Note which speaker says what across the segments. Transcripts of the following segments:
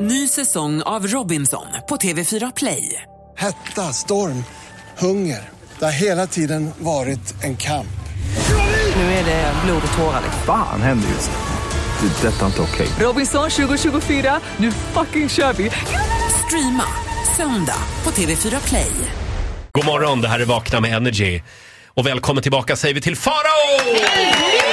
Speaker 1: Ny säsong av Robinson på TV4 Play.
Speaker 2: Hetta, storm, hunger. Det har hela tiden varit en kamp.
Speaker 1: Nu är det blod och tårar.
Speaker 3: Fan händer just nu. Det. är Detta är inte okej.
Speaker 1: Robinson 2024, nu fucking kör vi! Streama söndag på TV4 Play.
Speaker 4: God morgon, det här är Vakna med Energy. Och välkommen tillbaka säger vi till Farao! Eh,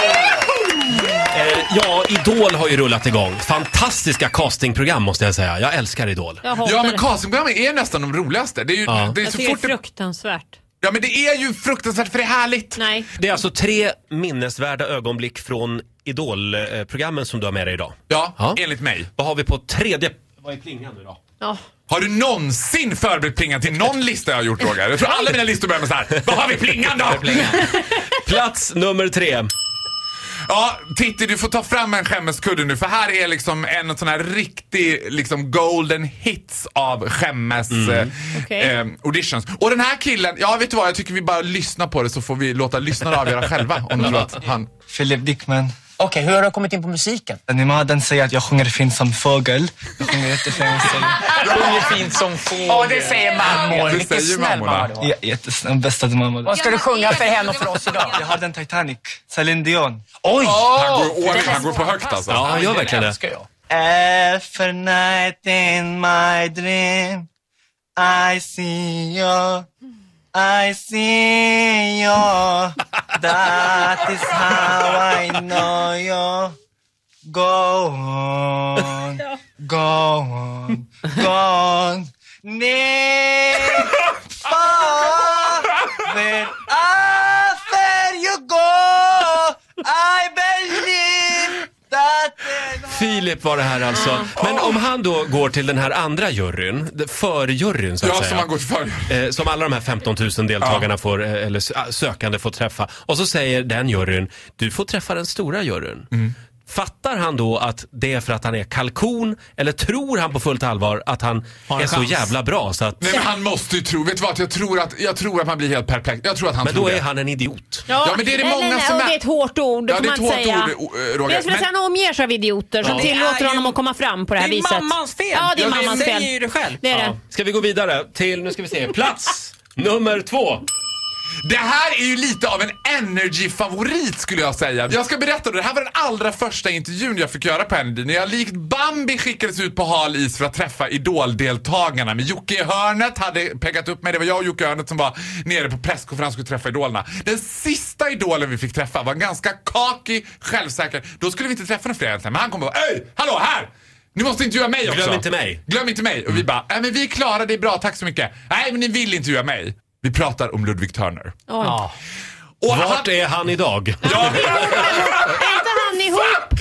Speaker 4: Ja, Idol har ju rullat igång. Fantastiska castingprogram måste jag säga. Jag älskar Idol.
Speaker 5: Jag hatar
Speaker 6: Ja men
Speaker 5: det.
Speaker 6: castingprogrammen är nästan de roligaste. Det är ju,
Speaker 4: Ja.
Speaker 6: det är
Speaker 5: jag
Speaker 6: så
Speaker 5: tycker
Speaker 6: fort
Speaker 5: Alltså, det är
Speaker 6: det,
Speaker 5: fruktansvärt.
Speaker 6: ja men det är ju fruktansvärt för det är härligt.
Speaker 5: Nej.
Speaker 4: Det är alltså tre minnesvärda ögonblick från Idol-programmen som du har med dig idag.
Speaker 6: Ja,
Speaker 4: Ja.
Speaker 6: enligt mig.
Speaker 4: Vad har vi på tredje... Vad är plingan nu då?
Speaker 5: Ja.
Speaker 6: Har du någonsin förberett plingan till någon lista jag har gjort Roger? Jag tror alla mina listor börjar med så här. Vad har vi plingan då?
Speaker 4: Plats nummer tre.
Speaker 6: Ja, Titti du får ta fram en skämmeskudde nu för här är liksom en sån här riktig liksom golden hits av skämmes eh,
Speaker 5: Okej.
Speaker 6: eh, auditions. Och den här killen, ja vet du vad jag tycker vi bara lyssnar på det så får vi låta lyssnarna avgöra själva om de tror att han...
Speaker 7: Philip Dickman.
Speaker 8: Okej, hur har du kommit in på musiken?
Speaker 7: Animaden säger att jag sjunger fint som fågel. Jag sjunger jättefint.
Speaker 8: Sjunger fint som fågel. Åh, det säger mammor.
Speaker 6: Det
Speaker 8: Vilken
Speaker 6: säger
Speaker 8: snäll
Speaker 6: mammorna.
Speaker 8: mamma du var.
Speaker 7: Ja, jättesnäll. Bästa till mamma.
Speaker 8: Vad ska du sjunga för henne och för oss idag?
Speaker 7: Jag har den Titanic. Celine Dion.
Speaker 8: Oj!
Speaker 6: Han går, all in, han går på högt alltså.
Speaker 4: Ja, han gör verkligen det.
Speaker 8: älskar jag.
Speaker 7: Every night in my dream I see you I see you That is how I know you Go on Go on Go on Near far Wherever you go I believe that
Speaker 4: Filip var det här alltså. Men om han då går till den här andra juryn, för-juryn så att
Speaker 6: Ja,
Speaker 4: säga.
Speaker 6: som han går för.
Speaker 4: Eh, som alla de här 15 000 deltagarna får, eh, eller s- ah, sökande får träffa. Och så säger den juryn, du får träffa den stora juryn.
Speaker 6: Mm.
Speaker 4: Fattar han då att det är för att han är kalkon eller tror han på fullt allvar att han är så jävla bra så att,
Speaker 6: Nej men han måste ju tro, vet du vad? Jag tror att, jag tror att man blir helt perplex. Jag tror att han
Speaker 4: men
Speaker 6: tror
Speaker 4: då
Speaker 6: det.
Speaker 4: är han en idiot.
Speaker 6: Ja, men det är det många
Speaker 5: eller,
Speaker 6: som
Speaker 5: och
Speaker 6: är-
Speaker 5: Det är ett hårt ord, det
Speaker 6: Ja,
Speaker 5: får
Speaker 6: det är
Speaker 5: man
Speaker 6: ett
Speaker 5: inte
Speaker 6: hårt
Speaker 5: säga.
Speaker 6: ord, eh,
Speaker 5: Men
Speaker 6: Roger.
Speaker 5: jag skulle
Speaker 6: Men-
Speaker 5: säga att han omger sig av idioter som tillåter honom att komma fram på det här viset. Det är mammans fel. Ja, det är mammans fel. säger ju det själv. Det är det.
Speaker 4: Ska vi gå vidare till, nu ska vi se, plats nummer två.
Speaker 6: Det här är ju lite av en energy-favorit skulle jag säga. Jag ska berätta då, det här var den allra första intervjun jag fick göra på Energy. När jag likt Bambi skickades ut på hal is för att träffa Idol-deltagarna. Men Jocke i hörnet hade pekat upp mig. Det var jag och Jocke i hörnet som var nere på presskonferens och skulle träffa Idolerna. Den sista Idolen vi fick träffa var en ganska kakig, självsäker. Då skulle vi inte träffa någon fler egentligen. Men han kom och bara Öj! Hallå, här! Ni måste intervjua mig också.
Speaker 4: Glöm inte mig.
Speaker 6: Glöm inte mig.
Speaker 4: Mm.
Speaker 6: Och vi bara, nej men vi är klara, det är bra, tack så mycket. Nej men ni vill intervjua mig. Vi pratar om Ludvig Törner. Och
Speaker 4: Vart är han idag?
Speaker 6: Ja,
Speaker 5: Är inte han ihop?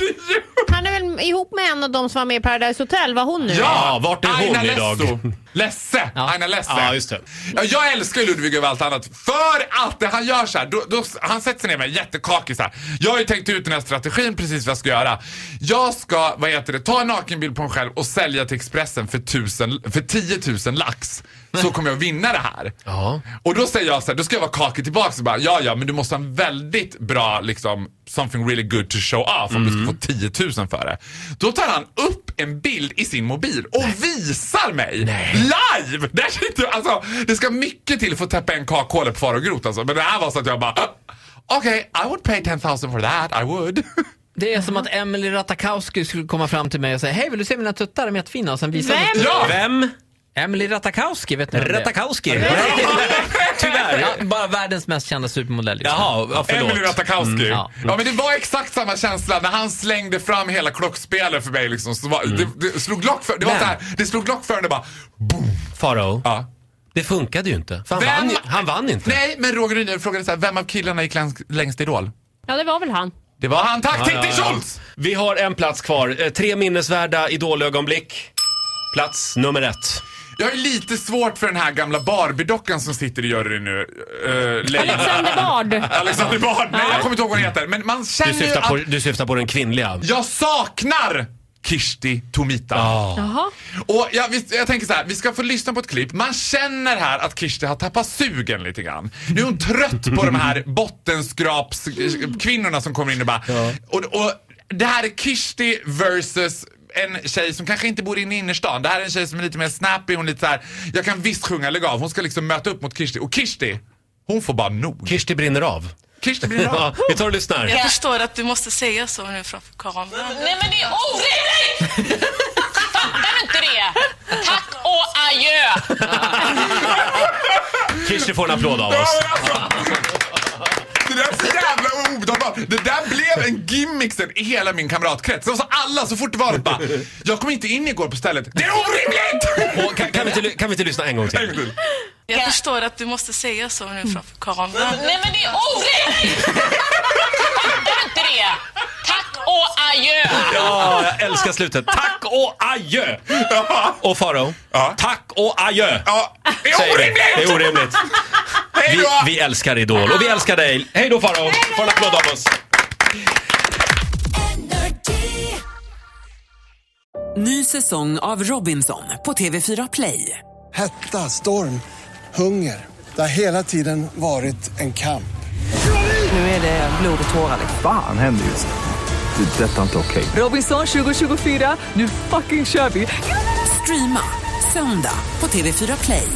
Speaker 5: Han är väl ihop med en av de som var med i Paradise Hotel? Var hon nu?
Speaker 4: Ja, vart är hon
Speaker 6: Aina
Speaker 4: idag?
Speaker 6: Lesso. Lesse. Aina Lesse.
Speaker 4: Ja, just det.
Speaker 6: Ja, jag älskar ju Ludvig över allt annat. För att det han gör så här, då, då, han sätter sig ner med en jättekakig så här. Jag har ju tänkt ut den här strategin precis vad jag ska göra. Jag ska, vad heter det, ta en nakenbild på mig själv och sälja till Expressen för, tusen, för 10 000 lax. Så kommer jag vinna det här.
Speaker 4: Mm. Ja.
Speaker 6: Och då säger jag så här, då ska jag vara kakig tillbaks och bara ja ja men du måste ha en väldigt bra liksom something really good to show off om du ska få 10 000 för det. Då tar han upp en bild i sin mobil och visar mig live! Där sitter, alltså, det ska mycket till för att täppa en kakhåle på far och grot alltså. Men det här var så att jag bara okej I would pay 10 000 for that I would.
Speaker 9: Det är som att Emily Ratakowski skulle komma fram till mig och säga Hej, vill du se mina tuttar? De är jättefina. Och sen visar
Speaker 5: Vem?
Speaker 9: hon-
Speaker 6: Ja.
Speaker 4: Vem?
Speaker 9: Emily Ratakowski, vet ni vem det är?
Speaker 4: Ratakowski?
Speaker 9: Tyvärr. Ja, bara världens mest kända supermodell. liksom. just
Speaker 4: Jaha,
Speaker 9: nu.
Speaker 4: ja, förlåt.
Speaker 6: Emily Ratajkowski.
Speaker 9: Mm,
Speaker 6: ja.
Speaker 9: ja.
Speaker 6: men det var exakt samma känsla när han slängde fram hela klockspelet för mig liksom. Så var,
Speaker 4: Mm.
Speaker 6: det, det slog lock för, det var
Speaker 9: Men-
Speaker 6: så här, det slog lock för det bara boom.
Speaker 4: Farao,
Speaker 6: Ja.
Speaker 4: det funkade ju inte. För han,
Speaker 6: Vem-
Speaker 4: vann, ju- han vann inte.
Speaker 6: Nej, men Roger Rydén frågade så här, vem av killarna gick längst, längst i Idol?
Speaker 5: Ja, det var väl han.
Speaker 6: Det var han, tack!
Speaker 4: Ja, ja,
Speaker 6: Titti
Speaker 4: ja.
Speaker 6: Schultz!
Speaker 4: Vi har en plats kvar. Eh, Tre minnesvärda idolögonblick. Plats nummer ett.
Speaker 6: Jag är lite svårt för den här gamla Barbie-dockan som sitter i juryn nu. Uh,
Speaker 5: Alexander Bard.
Speaker 6: Alexander Bard. Nej, jag kommer inte ihåg vad hon heter. Men man
Speaker 4: Du
Speaker 6: känner ju
Speaker 4: syftar,
Speaker 6: att
Speaker 4: på, du syftar på den kvinnliga.
Speaker 6: jag saknar Kirsti Tomita.
Speaker 5: Jaha.
Speaker 6: Och jag, visst, jag tänker så här, vi ska få lyssna på ett klipp. Man känner här att Kirsti har tappat sugen lite grann. Nu är hon trött på de här bottenskrapskvinnorna som kommer in och bara... Och, och det här är Kirsti versus en tjej som kanske inte bor inne i innerstan. Det här är en tjej som är lite mer snappy. Hon är lite så här, jag kan visst sjunga lägg av. Hon ska liksom möta upp mot Kirsti. Och Kirsti, hon får bara nog.
Speaker 4: Kirsti brinner av.
Speaker 6: Kirsti blir
Speaker 4: Ja,
Speaker 6: av.
Speaker 4: vi tar och lyssnar.
Speaker 10: Jag förstår att du måste säga så nu framför kameran.
Speaker 11: Nej men det är orimligt! Fattar du inte det? Tack och adjö!
Speaker 4: Kirsti får en applåd av
Speaker 6: Ja,
Speaker 4: oss.
Speaker 6: men alltså. Det där är så jävla obetalbart. Det där blev en gimmick sen i hela min kamratkrets. Det var så alla så fort det var något bara, jag kom inte in igår på stället. Det är orimligt!
Speaker 4: Och kan, kan, vi inte, ly- kan vi inte lyssna en gång till?
Speaker 10: Jag förstår att du måste säga så nu framför kameran.
Speaker 11: Nej men det är orimligt! Fattar du inte det? Tack och adjö!
Speaker 4: Ja, jag älskar slutet. Tack och adjö! Och Faro,
Speaker 6: Ja.
Speaker 4: tack och adjö!
Speaker 6: Ja, det är
Speaker 4: säger vi. Det
Speaker 6: orimligt!
Speaker 4: är orimligt.
Speaker 6: Hej
Speaker 4: Vi,
Speaker 6: då!
Speaker 4: vi älskar Idol och vi älskar dig. Hej då Faro. Får en applåd av oss.
Speaker 1: Ny säsong av Robinson på TV4 Play.
Speaker 2: Hetta, storm, hunger. Det har hela tiden varit en kamp.
Speaker 1: Nu är det blod och tårar. liksom.
Speaker 3: Fan händer just nu. Det. är Detta är inte okej.
Speaker 1: Robinson 2024, nu fucking kör vi! Streama söndag på TV4 Play.